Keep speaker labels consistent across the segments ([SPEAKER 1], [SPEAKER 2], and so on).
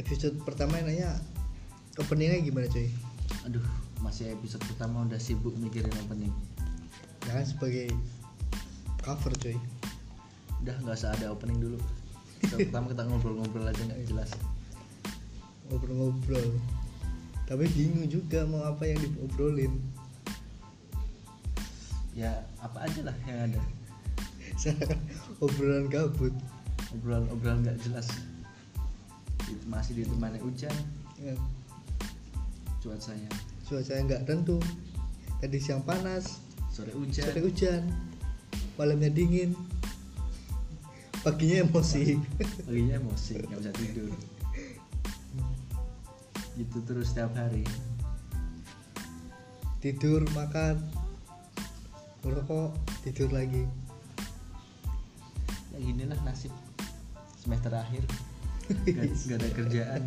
[SPEAKER 1] episode pertama yang nanya openingnya gimana cuy
[SPEAKER 2] Aduh, masih episode pertama udah sibuk mikirin opening.
[SPEAKER 1] jangan sebagai cover cuy
[SPEAKER 2] Udah nggak usah ada opening dulu. Episode pertama kita ngobrol-ngobrol aja nggak jelas.
[SPEAKER 1] ngobrol-ngobrol tapi bingung juga mau apa yang diobrolin
[SPEAKER 2] Ya apa aja lah yang ada.
[SPEAKER 1] Misalkan kan obrolan gabut
[SPEAKER 2] Obrolan-obrolan nggak jelas. Dit- Masih ditemani hujan,
[SPEAKER 1] ya,
[SPEAKER 2] cuacanya
[SPEAKER 1] cuaca nggak tentu tadi siang panas
[SPEAKER 2] sore
[SPEAKER 1] sore
[SPEAKER 2] hujan.
[SPEAKER 1] hujan malamnya dingin paginya emosi
[SPEAKER 2] Paginya emosi, nggak bisa tidur. Gitu terus setiap hari.
[SPEAKER 1] tidur makan merokok tidur lagi
[SPEAKER 2] Ya ginilah nasib semester akhir. Gak, gak ada kerjaan.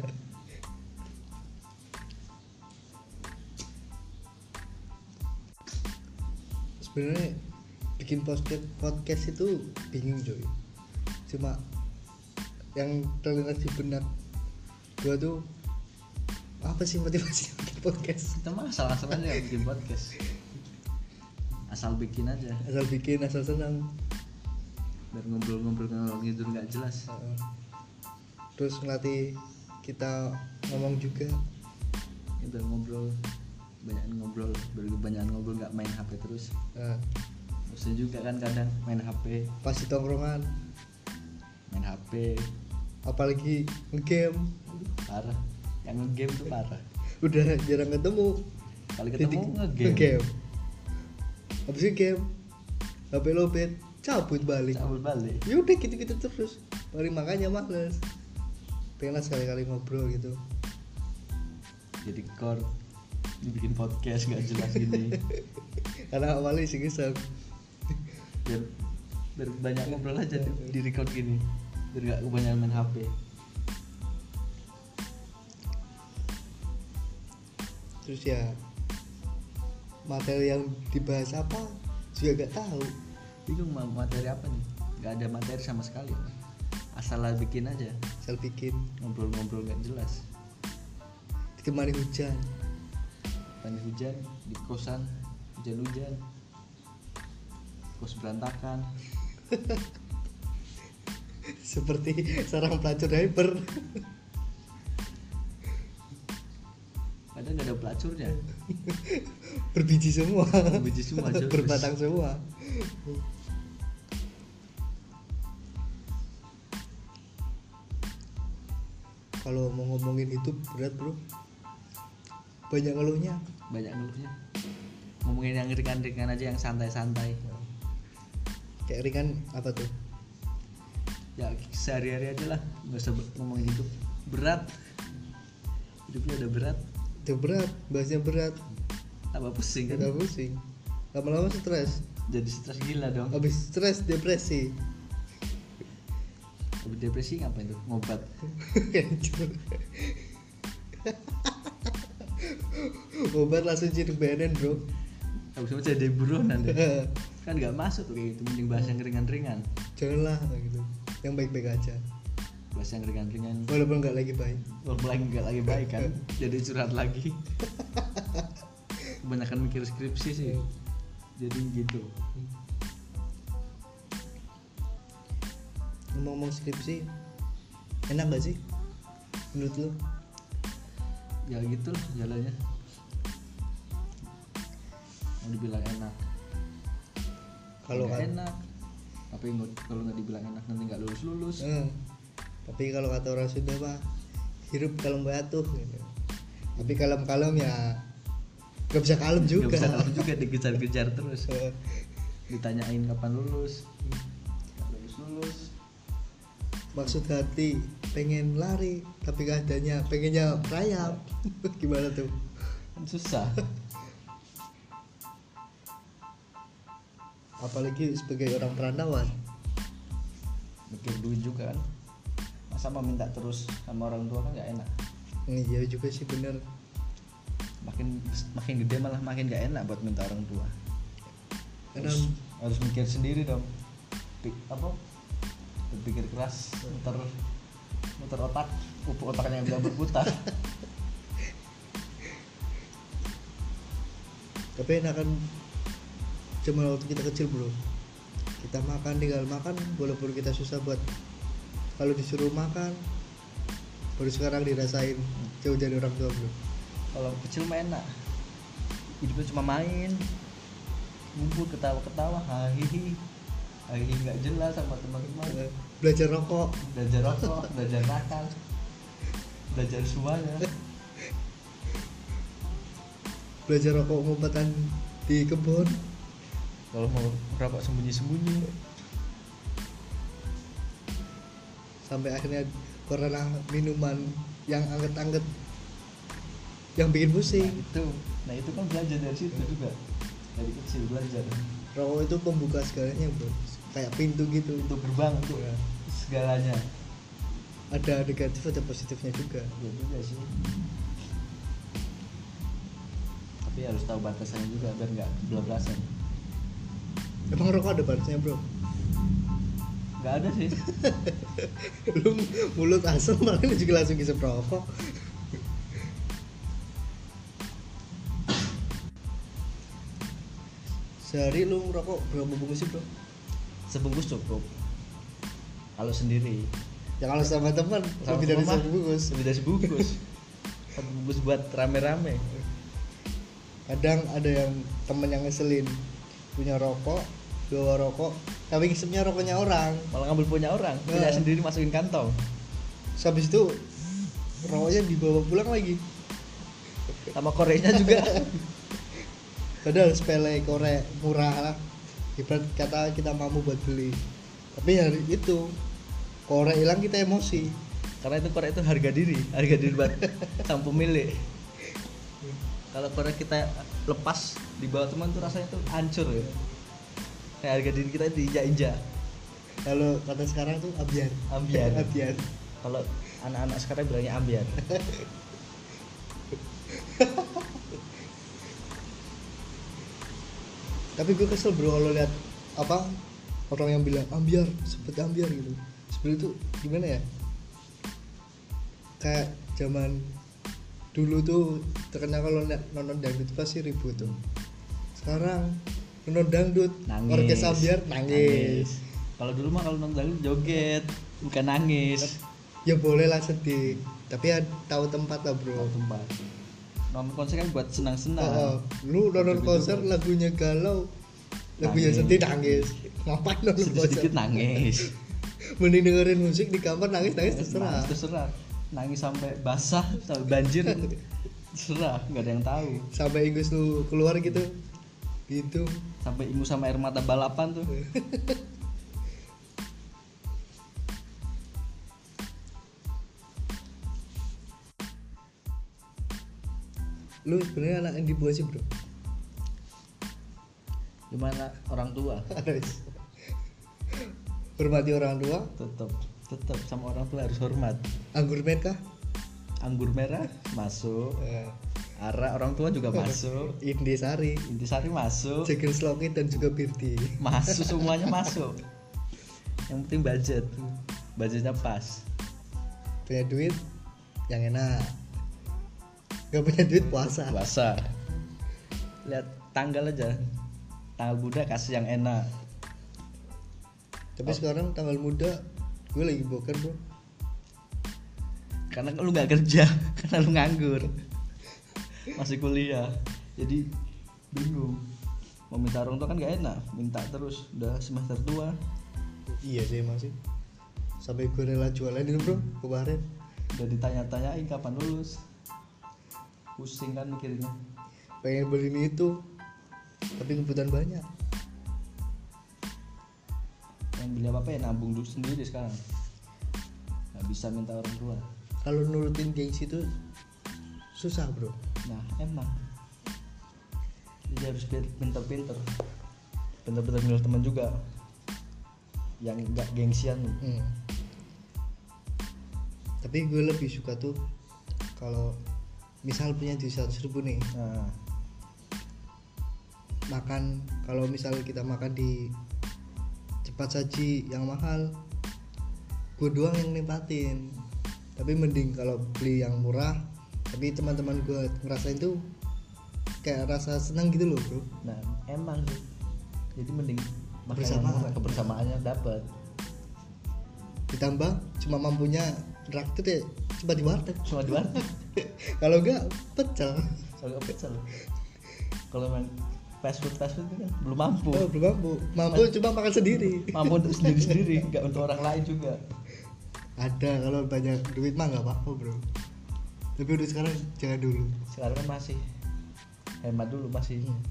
[SPEAKER 1] sebenarnya bikin podcast podcast itu bingung coy cuma yang terlintas di benak gua tuh apa sih motivasi bikin podcast
[SPEAKER 2] Kita mah asal-asal aja bikin podcast. Asal bikin aja.
[SPEAKER 1] asal bikin asal senang
[SPEAKER 2] biar ngobrol-ngobrol ngalor ngidul nggak jelas
[SPEAKER 1] Heeh. terus ngelatih kita ngomong juga
[SPEAKER 2] ya, biar ngobrol banyak ngobrol biar banyak ngobrol nggak main HP terus
[SPEAKER 1] Nah,
[SPEAKER 2] bosan juga kan kadang main HP
[SPEAKER 1] pas di tongkrongan
[SPEAKER 2] main HP
[SPEAKER 1] apalagi ngegame
[SPEAKER 2] parah yang ngegame tuh parah
[SPEAKER 1] udah jarang ketemu
[SPEAKER 2] kali ketemu
[SPEAKER 1] Titik-
[SPEAKER 2] ngegame
[SPEAKER 1] habis ngegame HP lobet cabut balik
[SPEAKER 2] cabut balik
[SPEAKER 1] ya udah gitu-gitu terus paling makanya males pengen lah sekali-kali ngobrol gitu
[SPEAKER 2] jadi core dibikin podcast nggak jelas gini
[SPEAKER 1] karena awalnya sih kesel
[SPEAKER 2] biar biar banyak ngobrol aja di, di record gini biar nggak kebanyakan main HP
[SPEAKER 1] terus ya materi yang dibahas apa juga gak tahu
[SPEAKER 2] bingung mau materi apa nih nggak ada materi sama sekali asal lah bikin aja
[SPEAKER 1] asal bikin
[SPEAKER 2] ngobrol-ngobrol nggak jelas
[SPEAKER 1] ditemani hujan
[SPEAKER 2] Tadi hujan di kosan hujan-hujan kos berantakan
[SPEAKER 1] seperti seorang pelacur hyper
[SPEAKER 2] kadang nggak ada pelacurnya
[SPEAKER 1] berbiji semua
[SPEAKER 2] Berbiji semua, Jos.
[SPEAKER 1] berbatang semua kalau mau ngomongin itu berat bro banyak ngeluhnya
[SPEAKER 2] banyak ngeluhnya ngomongin yang ringan-ringan aja yang santai-santai
[SPEAKER 1] kayak ringan apa tuh
[SPEAKER 2] ya sehari-hari aja lah nggak usah be- ngomongin hidup berat hidupnya udah berat
[SPEAKER 1] itu berat bahasnya berat
[SPEAKER 2] tambah pusing kan
[SPEAKER 1] udah pusing lama-lama stres
[SPEAKER 2] jadi stres gila dong
[SPEAKER 1] habis stres depresi
[SPEAKER 2] Habis depresi ngapain tuh ngobat
[SPEAKER 1] obat langsung jadi BNN bro
[SPEAKER 2] habis itu jadi buruan deh kan nggak masuk tuh kayak gitu mending bahas yang ringan-ringan
[SPEAKER 1] janganlah gitu yang baik-baik aja
[SPEAKER 2] bahas yang ringan-ringan
[SPEAKER 1] walaupun nggak lagi baik
[SPEAKER 2] walaupun lagi nggak lagi baik kan jadi curhat lagi kebanyakan mikir skripsi sih
[SPEAKER 1] Iya.
[SPEAKER 2] jadi gitu
[SPEAKER 1] ngomong-ngomong skripsi enak gak sih menurut lu
[SPEAKER 2] ya gitu lah jalannya mau dibilang enak
[SPEAKER 1] kalau
[SPEAKER 2] nggak
[SPEAKER 1] kan
[SPEAKER 2] enak tapi nggak- kalau nggak dibilang enak nanti nggak lulus lulus
[SPEAKER 1] Eh, tapi kalau kata orang Sunda pak hirup kalem batu gitu. tapi kalem-kalem ya nggak bisa kalem
[SPEAKER 2] nggak
[SPEAKER 1] juga
[SPEAKER 2] bisa tahu juga dikejar-kejar terus
[SPEAKER 1] Eh,
[SPEAKER 2] ditanyain kapan lulus
[SPEAKER 1] Hmm.
[SPEAKER 2] nggak lulus lulus
[SPEAKER 1] maksud hati pengen lari tapi keadaannya pengennya rayap gimana tuh
[SPEAKER 2] kan susah
[SPEAKER 1] apalagi sebagai orang perantauan
[SPEAKER 2] mikir duit juga kan masa mau minta terus sama orang tua kan nggak enak
[SPEAKER 1] Hmm, iya juga sih bener
[SPEAKER 2] makin makin gede malah makin gak enak buat minta orang tua
[SPEAKER 1] karena
[SPEAKER 2] harus, harus mikir sendiri dong Pik- apa berpikir keras ntar muter otak pupuk otaknya yang bisa berputar
[SPEAKER 1] tapi enakan zaman waktu kita kecil bro kita makan tinggal makan walaupun kita susah buat kalau disuruh makan baru sekarang dirasain jauh dari orang tua bro
[SPEAKER 2] kalau kecil mah enak hidupnya cuma main ngumpul ketawa-ketawa hahihi hahihi nggak jelas sama
[SPEAKER 1] Iya.
[SPEAKER 2] teman-teman
[SPEAKER 1] Eh, belajar rokok
[SPEAKER 2] belajar rokok belajar nakal belajar semuanya
[SPEAKER 1] belajar rokok ngumpatan di kebun
[SPEAKER 2] kalau mau rokok sembunyi-sembunyi
[SPEAKER 1] sampai akhirnya karena minuman yang anget-anget yang bikin
[SPEAKER 2] nah,
[SPEAKER 1] pusing
[SPEAKER 2] itu nah itu kan belajar dari situ juga dari kecil belajar
[SPEAKER 1] rokok itu pembuka segalanya bro kayak pintu gitu
[SPEAKER 2] pintu gerbang tuh
[SPEAKER 1] Ya.
[SPEAKER 2] segalanya
[SPEAKER 1] ada negatif ada positifnya juga
[SPEAKER 2] Iya juga sih. Tapi harus tahu batasannya juga biar nggak kebelasan.
[SPEAKER 1] emang rokok ada batasnya bro
[SPEAKER 2] Nggak ada sih.
[SPEAKER 1] lu mulut asem malah lu juga langsung isep rokok sehari lu ngerokok berapa bungkus sih bro?
[SPEAKER 2] Sebungkus cukup. Kalau sendiri.
[SPEAKER 1] ya kalau sama teman
[SPEAKER 2] Sama
[SPEAKER 1] lebih dari
[SPEAKER 2] teman mah,
[SPEAKER 1] satu bungkus
[SPEAKER 2] Lebih dari sebungkus. Satu bungkus buat rame-rame.
[SPEAKER 1] kadang ada yang temen yang ngeselin punya rokok bawa rokok tapi ngisepnya rokoknya orang
[SPEAKER 2] Malah ngambil punya orang. Punya
[SPEAKER 1] Nah.
[SPEAKER 2] sendiri masukin kantong.
[SPEAKER 1] Terus habis itu rokoknya dibawa pulang lagi
[SPEAKER 2] Sama korenya juga.
[SPEAKER 1] padahal sepele korek murah lah ibarat kata kita mampu buat beli tapi hari itu korek hilang kita emosi
[SPEAKER 2] Karena itu korek itu harga diri. Harga diri buat sang pemilik. Kalau korek kita lepas di bawah teman tuh rasanya tuh hancur ya. Kayak harga diri kita diinjak-injak.
[SPEAKER 1] kalau kata sekarang tuh ambiar
[SPEAKER 2] Ambiar.
[SPEAKER 1] ambiar
[SPEAKER 2] kalau anak-anak sekarang bilangnya ambiar
[SPEAKER 1] tapi gue kesel bro kalau lihat apa orang yang bilang ambiar sempet ambiar gitu sebenarnya tuh gimana ya kayak zaman dulu tuh terkenal kalau liat- nonton dangdut pasti ribut tuh sekarang nonton dangdut orkes ambiar nangis.
[SPEAKER 2] kalau dulu mah kalau nonton dangdut joget bukan nangis
[SPEAKER 1] ya boleh lah sedih tapi ya tahu tempat lah bro
[SPEAKER 2] Kalau tempat nonton konser kan buat senang-senang
[SPEAKER 1] Oh, lu nonton konser lagunya galau lagunya
[SPEAKER 2] Nangis.
[SPEAKER 1] sedih nangis ngapain nonton konser
[SPEAKER 2] sedikit nangis
[SPEAKER 1] mending dengerin musik di kamar nangis nangis
[SPEAKER 2] Nangis,
[SPEAKER 1] Eh, terserah
[SPEAKER 2] Nah, terserah nangis sampai basah sampai banjir terserah nggak ada yang tahu
[SPEAKER 1] sampai Inggris lu keluar gitu gitu
[SPEAKER 2] sampai ingus sama air mata balapan tuh
[SPEAKER 1] lu sebenarnya anak yang dibuat sih bro
[SPEAKER 2] gimana orang tua
[SPEAKER 1] harus hormati orang tua
[SPEAKER 2] tetap tetap sama orang tua harus hormat
[SPEAKER 1] anggur merah
[SPEAKER 2] anggur merah masuk
[SPEAKER 1] eh,
[SPEAKER 2] arah orang tua juga masuk
[SPEAKER 1] Indisari
[SPEAKER 2] Intisari masuk,
[SPEAKER 1] Jekyll Slokit dan juga Birdi
[SPEAKER 2] masuk semuanya masuk. Yang penting budget, budgetnya pas.
[SPEAKER 1] punya duit yang enak gak punya duit puasa
[SPEAKER 2] Puasa. Lihat tanggal aja. Tanggal Buddha kasih yang enak.
[SPEAKER 1] tapi sekarang tanggal muda gue lagi boker bro
[SPEAKER 2] Karena lu nggak kerja, karena lu nganggur. Masih kuliah. Jadi bingung. Mau minta orang tua kan gak enak, minta terus udah semester tua.
[SPEAKER 1] iya sih emang sih sampai gue rela jualan itu bro kemarin
[SPEAKER 2] Udah ditanya-tanyain kapan lulus. Pusing kan mikirinnya.
[SPEAKER 1] pengen beli ini itu tapi kebutuhan banyak
[SPEAKER 2] yang beli apa apa ya nabung dulu sendiri sekarang nggak bisa minta orang tua
[SPEAKER 1] kalau nurutin gengsi itu susah bro
[SPEAKER 2] nah emang jadi harus pi- pinter-pinter pinter-pinter milih teman juga yang nggak gengsian
[SPEAKER 1] Hmm. tapi gue lebih suka tuh kalau misal punya di 100 ribu nih
[SPEAKER 2] nah,
[SPEAKER 1] makan kalau misal kita makan di cepat saji yang mahal gue doang yang nempatin tapi mending kalau beli yang murah tapi teman-teman gue ngerasain tuh kayak rasa senang gitu loh bro
[SPEAKER 2] nah emang sih jadi mending makan yang
[SPEAKER 1] Kebersamaan.
[SPEAKER 2] murah, kebersamaannya dapat
[SPEAKER 1] ditambah cuma mampunya raktir ya cuma di warteg
[SPEAKER 2] cuma di warteg
[SPEAKER 1] kalau enggak pecel
[SPEAKER 2] soalnya pecel kalau main fast food fast food itu kan belum mampu
[SPEAKER 1] oh, belum mampu mampu cuma makan sendiri
[SPEAKER 2] mampu untuk sendiri sendiri nggak untuk orang lain juga
[SPEAKER 1] ada kalau banyak duit mah nggak apa-apa bro tapi udah sekarang jangan dulu
[SPEAKER 2] sekarang kan masih hemat dulu masih
[SPEAKER 1] Hmm.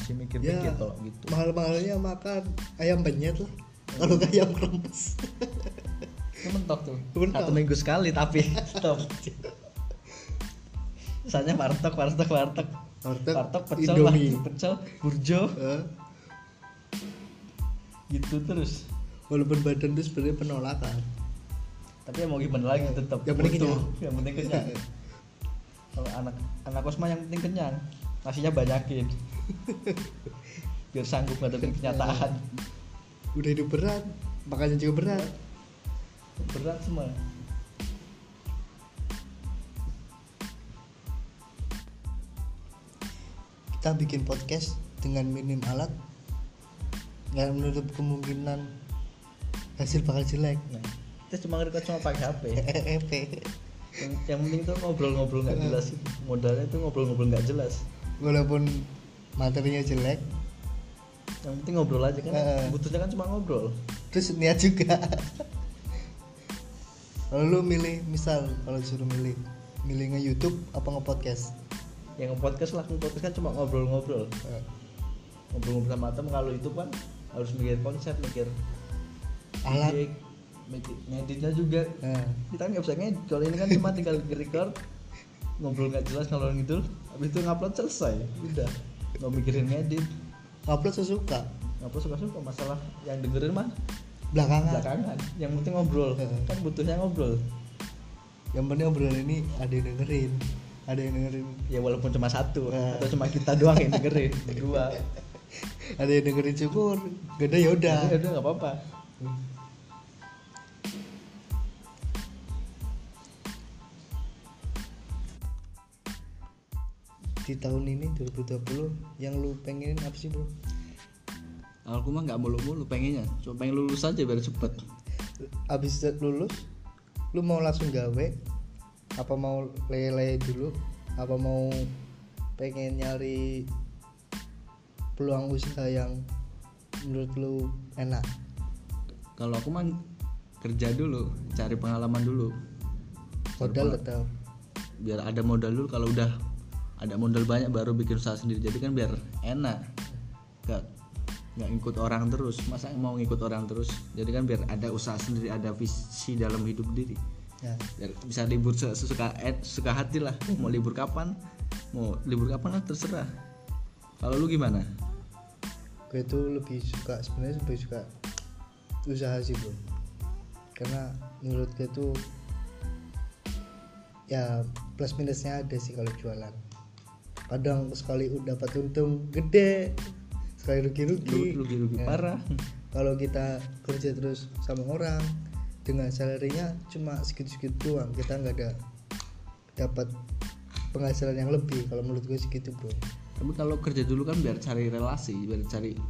[SPEAKER 2] masih mikir-mikir
[SPEAKER 1] Ya.
[SPEAKER 2] kalau gitu Hmm.
[SPEAKER 1] mahal-mahalnya makan ayam penyet lah kalau nggak ayam krempes
[SPEAKER 2] itu mentok tuh
[SPEAKER 1] Mentok.
[SPEAKER 2] satu minggu sekali tapi stop Misalnya warteg, warteg, warteg
[SPEAKER 1] warteg
[SPEAKER 2] Warteg pecel,
[SPEAKER 1] indomie
[SPEAKER 2] warteg pecel, burjo
[SPEAKER 1] Eh,
[SPEAKER 2] Gitu terus
[SPEAKER 1] walaupun badan itu sebenarnya penolakan
[SPEAKER 2] Tapi ya mau gimana lagi tetap
[SPEAKER 1] Yang penting
[SPEAKER 2] butuh.
[SPEAKER 1] kenyang.
[SPEAKER 2] Yang penting kenyang Kalau anak anak kos mah yang penting kenyang Nasinya banyakin Biar sanggup ngadepin kenyataan
[SPEAKER 1] udah hidup berat makannya juga berat
[SPEAKER 2] Berat semua
[SPEAKER 1] kita bikin podcast dengan minim alat nggak menutup kemungkinan hasil bakal jelek
[SPEAKER 2] nah, Kita cuma ngerekod cuma pakai HP
[SPEAKER 1] EEP
[SPEAKER 2] yang, yang penting tuh ngobrol-ngobrol nggak jelas itu. Modalnya tuh ngobrol-ngobrol nggak jelas
[SPEAKER 1] walaupun materinya jelek
[SPEAKER 2] yang penting ngobrol aja kan
[SPEAKER 1] Eh.
[SPEAKER 2] butuhnya kan cuma ngobrol
[SPEAKER 1] terus niat juga kalau lu milih misal kalau disuruh milih milih nge YouTube apa nge podcast
[SPEAKER 2] yang podcast lah podcast kan cuma ngobrol-ngobrol ngobrol-ngobrol sama temen kalau itu kan harus mikir konsep mikir
[SPEAKER 1] alat
[SPEAKER 2] gig, mikir ngeditnya juga
[SPEAKER 1] Eh,
[SPEAKER 2] kita nggak bisa ngedit kalau ini kan cuma tinggal record ngobrol nggak jelas kalau gitu habis itu ngupload selesai udah nggak mikirin ngedit
[SPEAKER 1] upload sesuka
[SPEAKER 2] ngupload suka-suka masalah yang dengerin mah
[SPEAKER 1] belakangan.
[SPEAKER 2] belakangan yang penting ngobrol
[SPEAKER 1] Eh.
[SPEAKER 2] kan butuhnya ngobrol
[SPEAKER 1] yang penting obrolan ini ada yang dengerin ada yang dengerin
[SPEAKER 2] ya walaupun cuma satu
[SPEAKER 1] Eh.
[SPEAKER 2] atau cuma kita doang yang dengerin berdua
[SPEAKER 1] ada yang dengerin syukur gede ya udah
[SPEAKER 2] ya udah nggak apa-apa
[SPEAKER 1] di tahun ini 2020 yang lu pengenin apa sih bro
[SPEAKER 2] aku mah nggak mulu-mulu pengennya cuma pengen lulus aja biar cepet
[SPEAKER 1] abis lulus lu mau langsung gawe apa mau lele dulu apa mau pengen nyari peluang usaha yang menurut lu enak
[SPEAKER 2] kalau aku mah kerja dulu cari pengalaman dulu
[SPEAKER 1] modal tetap
[SPEAKER 2] biar ada modal dulu kalau udah ada modal banyak baru bikin usaha sendiri jadi kan biar enak nggak nggak ngikut orang terus masa mau ngikut orang terus jadi kan biar ada usaha sendiri ada visi dalam hidup diri
[SPEAKER 1] ya
[SPEAKER 2] biar bisa libur se- sesuka eh, suka hati lah mau libur kapan mau libur kapan lah terserah kalau lu gimana
[SPEAKER 1] gue tuh lebih suka sebenarnya lebih suka usaha sih bro karena menurut gue tuh ya plus minusnya ada sih kalau jualan kadang sekali udah dapat untung gede sekali rugi rugi
[SPEAKER 2] lu rugi rugi parah
[SPEAKER 1] kalau kita kerja terus sama orang dengan salarinya cuma segitu segitu doang kita nggak ada dapat penghasilan yang lebih kalau menurut gue segitu bro
[SPEAKER 2] tapi kalau kerja dulu kan biar cari relasi biar cari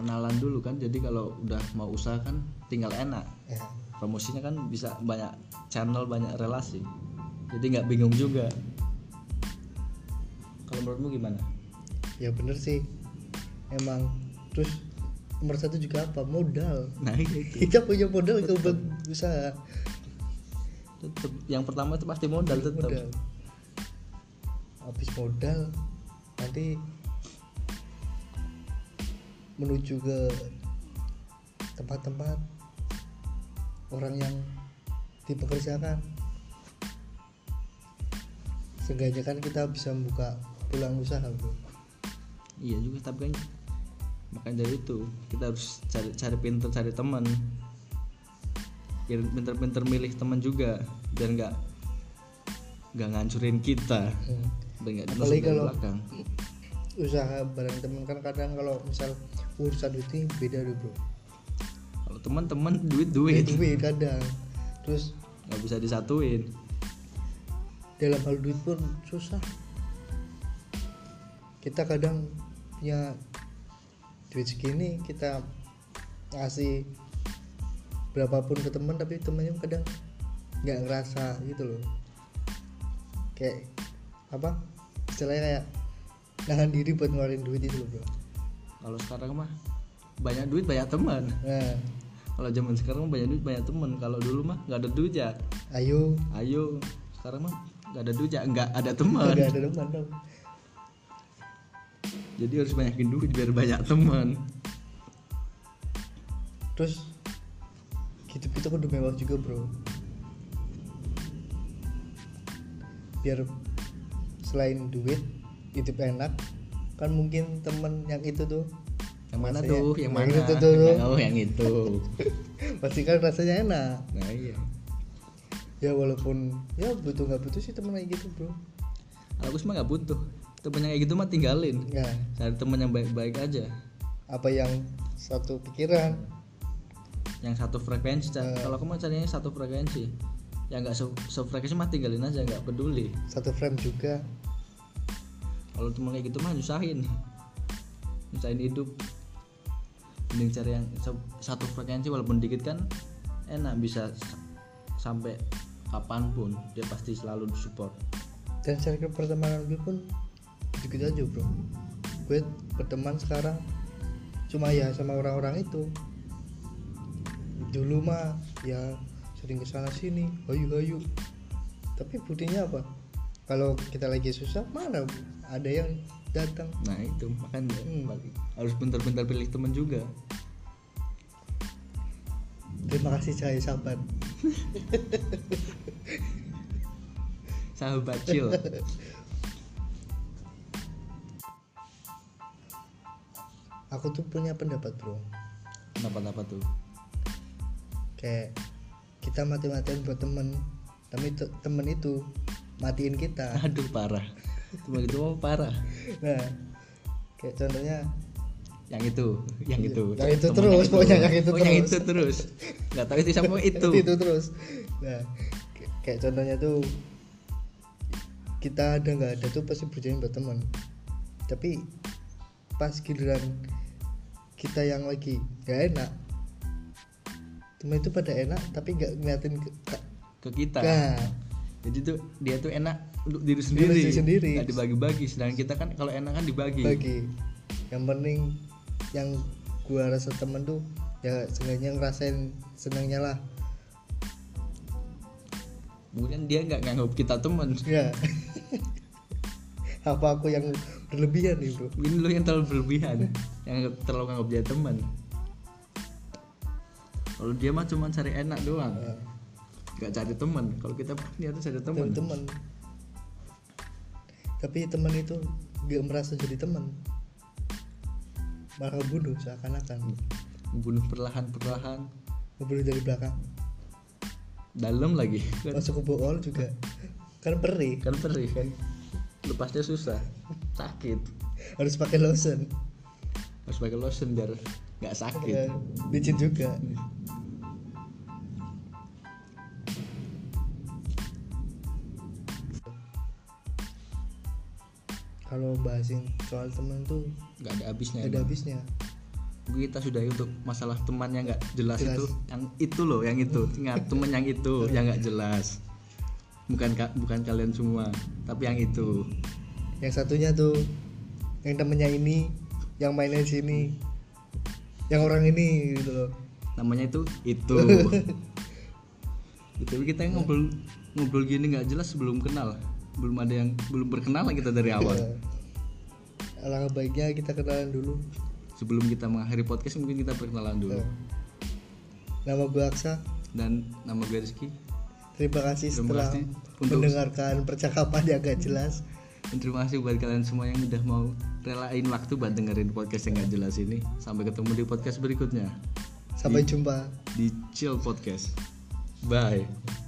[SPEAKER 2] kenalan dulu kan jadi kalau udah mau usaha kan tinggal enak
[SPEAKER 1] ya
[SPEAKER 2] promosinya kan bisa banyak channel banyak relasi jadi nggak bingung juga kalau menurutmu gimana
[SPEAKER 1] ya bener sih emang terus nomor satu juga apa modal
[SPEAKER 2] nah itu
[SPEAKER 1] kita punya modal ke buat usaha
[SPEAKER 2] tetep yang pertama itu pasti modal tetap
[SPEAKER 1] modal habis modal nanti menuju ke tempat-tempat orang yang dipekerjakan seenggaknya kan kita bisa buka pulang usaha bro
[SPEAKER 2] iya juga tapi kan makanya dari itu kita harus cari cari pinter cari teman biar pinter-pinter milih teman juga biar nggak nggak ngancurin kita
[SPEAKER 1] Hmm.
[SPEAKER 2] biar nggak
[SPEAKER 1] Apalagi
[SPEAKER 2] masuk dari
[SPEAKER 1] kalau-
[SPEAKER 2] belakang
[SPEAKER 1] usaha bareng temen kan kadang kalau misal urusan duit ini beda deh bro
[SPEAKER 2] kalau teman-teman duit
[SPEAKER 1] Ya,
[SPEAKER 2] duit
[SPEAKER 1] duit kadang terus
[SPEAKER 2] nggak bisa disatuin
[SPEAKER 1] dalam hal duit pun susah kita kadang punya duit segini kita ngasih berapapun ke teman tapi temennya kadang nggak ngerasa gitu loh kayak apa istilahnya kayak nahan diri buat ngeluarin duit itu loh bro
[SPEAKER 2] kalau sekarang mah banyak duit banyak teman
[SPEAKER 1] nah
[SPEAKER 2] kalau zaman sekarang mah banyak duit banyak teman kalau dulu mah nggak ada duit ya
[SPEAKER 1] ayo
[SPEAKER 2] ayo sekarang mah nggak ada duit ya nggak ada teman
[SPEAKER 1] nggak ada teman dong
[SPEAKER 2] jadi harus banyakin duit biar banyak teman
[SPEAKER 1] terus gitu gitu kudu mewah juga bro biar selain duit hidup enak kan mungkin temen yang itu tuh
[SPEAKER 2] yang mana
[SPEAKER 1] Rasanya-
[SPEAKER 2] tuh yang
[SPEAKER 1] yang
[SPEAKER 2] mana
[SPEAKER 1] itu tuh.
[SPEAKER 2] Nggak tahu yang itu
[SPEAKER 1] pasti kan rasanya enak
[SPEAKER 2] nah iya
[SPEAKER 1] ya walaupun ya butuh nggak butuh sih temen kayak gitu bro
[SPEAKER 2] kalau aku cuma nggak butuh temen yang kayak gitu mah tinggalin
[SPEAKER 1] ya
[SPEAKER 2] cari temen yang baik-baik aja
[SPEAKER 1] apa yang satu pikiran
[SPEAKER 2] yang satu frekuensi Cak.
[SPEAKER 1] Eh.
[SPEAKER 2] kalau aku mah carinya yang satu frekuensi yang nggak se- sefrekuensi mah tinggalin aja nggak peduli
[SPEAKER 1] satu frame juga
[SPEAKER 2] kalau temen kayak gitu mah nyusahin nyusahin hidup mending cari yang se- satu frekuensi walaupun dikit kan enak bisa s- sampai kapanpun dia pasti selalu support
[SPEAKER 1] dan circle pertemanan gue pun gitu aja bro gue berteman sekarang cuma ya sama orang-orang itu dulu mah ya sering kesana sini hayu hayu tapi buktinya apa kalau kita lagi susah mana ada yang datang
[SPEAKER 2] nah itu makanya
[SPEAKER 1] Hmm.
[SPEAKER 2] balik. harus bentar-bentar pilih temen juga
[SPEAKER 1] terima kasih saya sahabat
[SPEAKER 2] sahabat chill
[SPEAKER 1] aku tuh punya pendapat bro
[SPEAKER 2] kenapa-napa tuh
[SPEAKER 1] kayak kita mati-matian buat temen tapi te- temen itu matiin kita
[SPEAKER 2] aduh parah cuma gitu mah parah
[SPEAKER 1] nah kayak contohnya
[SPEAKER 2] yang itu yang
[SPEAKER 1] Iya,
[SPEAKER 2] itu
[SPEAKER 1] yang itu
[SPEAKER 2] Temen
[SPEAKER 1] terus, pokoknya yang itu
[SPEAKER 2] Oh, yang
[SPEAKER 1] terus.
[SPEAKER 2] itu terus nggak tahu itu siapa itu
[SPEAKER 1] itu terus nah k- kayak contohnya tuh kita ada nggak ada tuh pasti berjalan berteman tapi pas giliran kita yang lagi gak enak temen itu pada enak tapi nggak ngeliatin ke, ke-
[SPEAKER 2] ke kita
[SPEAKER 1] nah,
[SPEAKER 2] jadi tuh dia tuh enak untuk diri sendiri
[SPEAKER 1] diri sendiri.
[SPEAKER 2] nggak dibagi-bagi sedangkan kita kan kalau enak kan dibagi
[SPEAKER 1] bagi yang penting yang gua rasa temen tuh ya seenggaknya ngerasain senangnya lah
[SPEAKER 2] kemudian dia nggak nganggap kita temen
[SPEAKER 1] ya apa aku yang berlebihan nih bro
[SPEAKER 2] mungkin lu yang terlalu berlebihan yang terlalu nganggap dia teman kalau dia mah cuma cari enak doang
[SPEAKER 1] Nah.
[SPEAKER 2] nggak cari teman kalau kita mah dia tuh cari teman
[SPEAKER 1] teman teman tapi teman itu gak merasa jadi teman malah bunuh seakan-akan
[SPEAKER 2] bunuh perlahan-perlahan
[SPEAKER 1] ngebunuh dari belakang
[SPEAKER 2] dalam lagi kan
[SPEAKER 1] masuk ke bool juga kan perih
[SPEAKER 2] kan perih kan lepasnya susah sakit
[SPEAKER 1] harus pakai lotion
[SPEAKER 2] harus pakai lotion biar nggak
[SPEAKER 1] Ya,
[SPEAKER 2] sakit
[SPEAKER 1] licin juga kalau bahasin soal teman tuh
[SPEAKER 2] nggak ada habisnya
[SPEAKER 1] gak ada
[SPEAKER 2] Ya, emang.
[SPEAKER 1] habisnya
[SPEAKER 2] kita sudah untuk masalah teman yang nggak jelas,
[SPEAKER 1] Jelas.
[SPEAKER 2] itu yang itu loh yang itu ingat teman yang itu yang nggak jelas bukan ka- bukan kalian semua tapi yang itu
[SPEAKER 1] yang satunya tuh yang temennya ini yang mainnya sini yang orang ini gitu loh
[SPEAKER 2] namanya itu itu tapi kita ngobrol ngobrol gini nggak jelas sebelum kenal belum ada yang belum berkenalan kita dari
[SPEAKER 1] Iya.
[SPEAKER 2] awal
[SPEAKER 1] Ya. alangkah baiknya kita kenalan dulu
[SPEAKER 2] sebelum kita mengakhiri podcast mungkin kita perkenalan dulu
[SPEAKER 1] Ya. nama gue Aksa
[SPEAKER 2] dan nama gue Rizky
[SPEAKER 1] terima kasih
[SPEAKER 2] Terima
[SPEAKER 1] setelah
[SPEAKER 2] kasih untuk-
[SPEAKER 1] mendengarkan percakapan yang gak jelas
[SPEAKER 2] Dan terima kasih buat kalian semua yang udah mau relain waktu buat dengerin podcast yang nggak jelas ini sampai ketemu di podcast berikutnya
[SPEAKER 1] sampai jumpa
[SPEAKER 2] di Chill Podcast. Bye.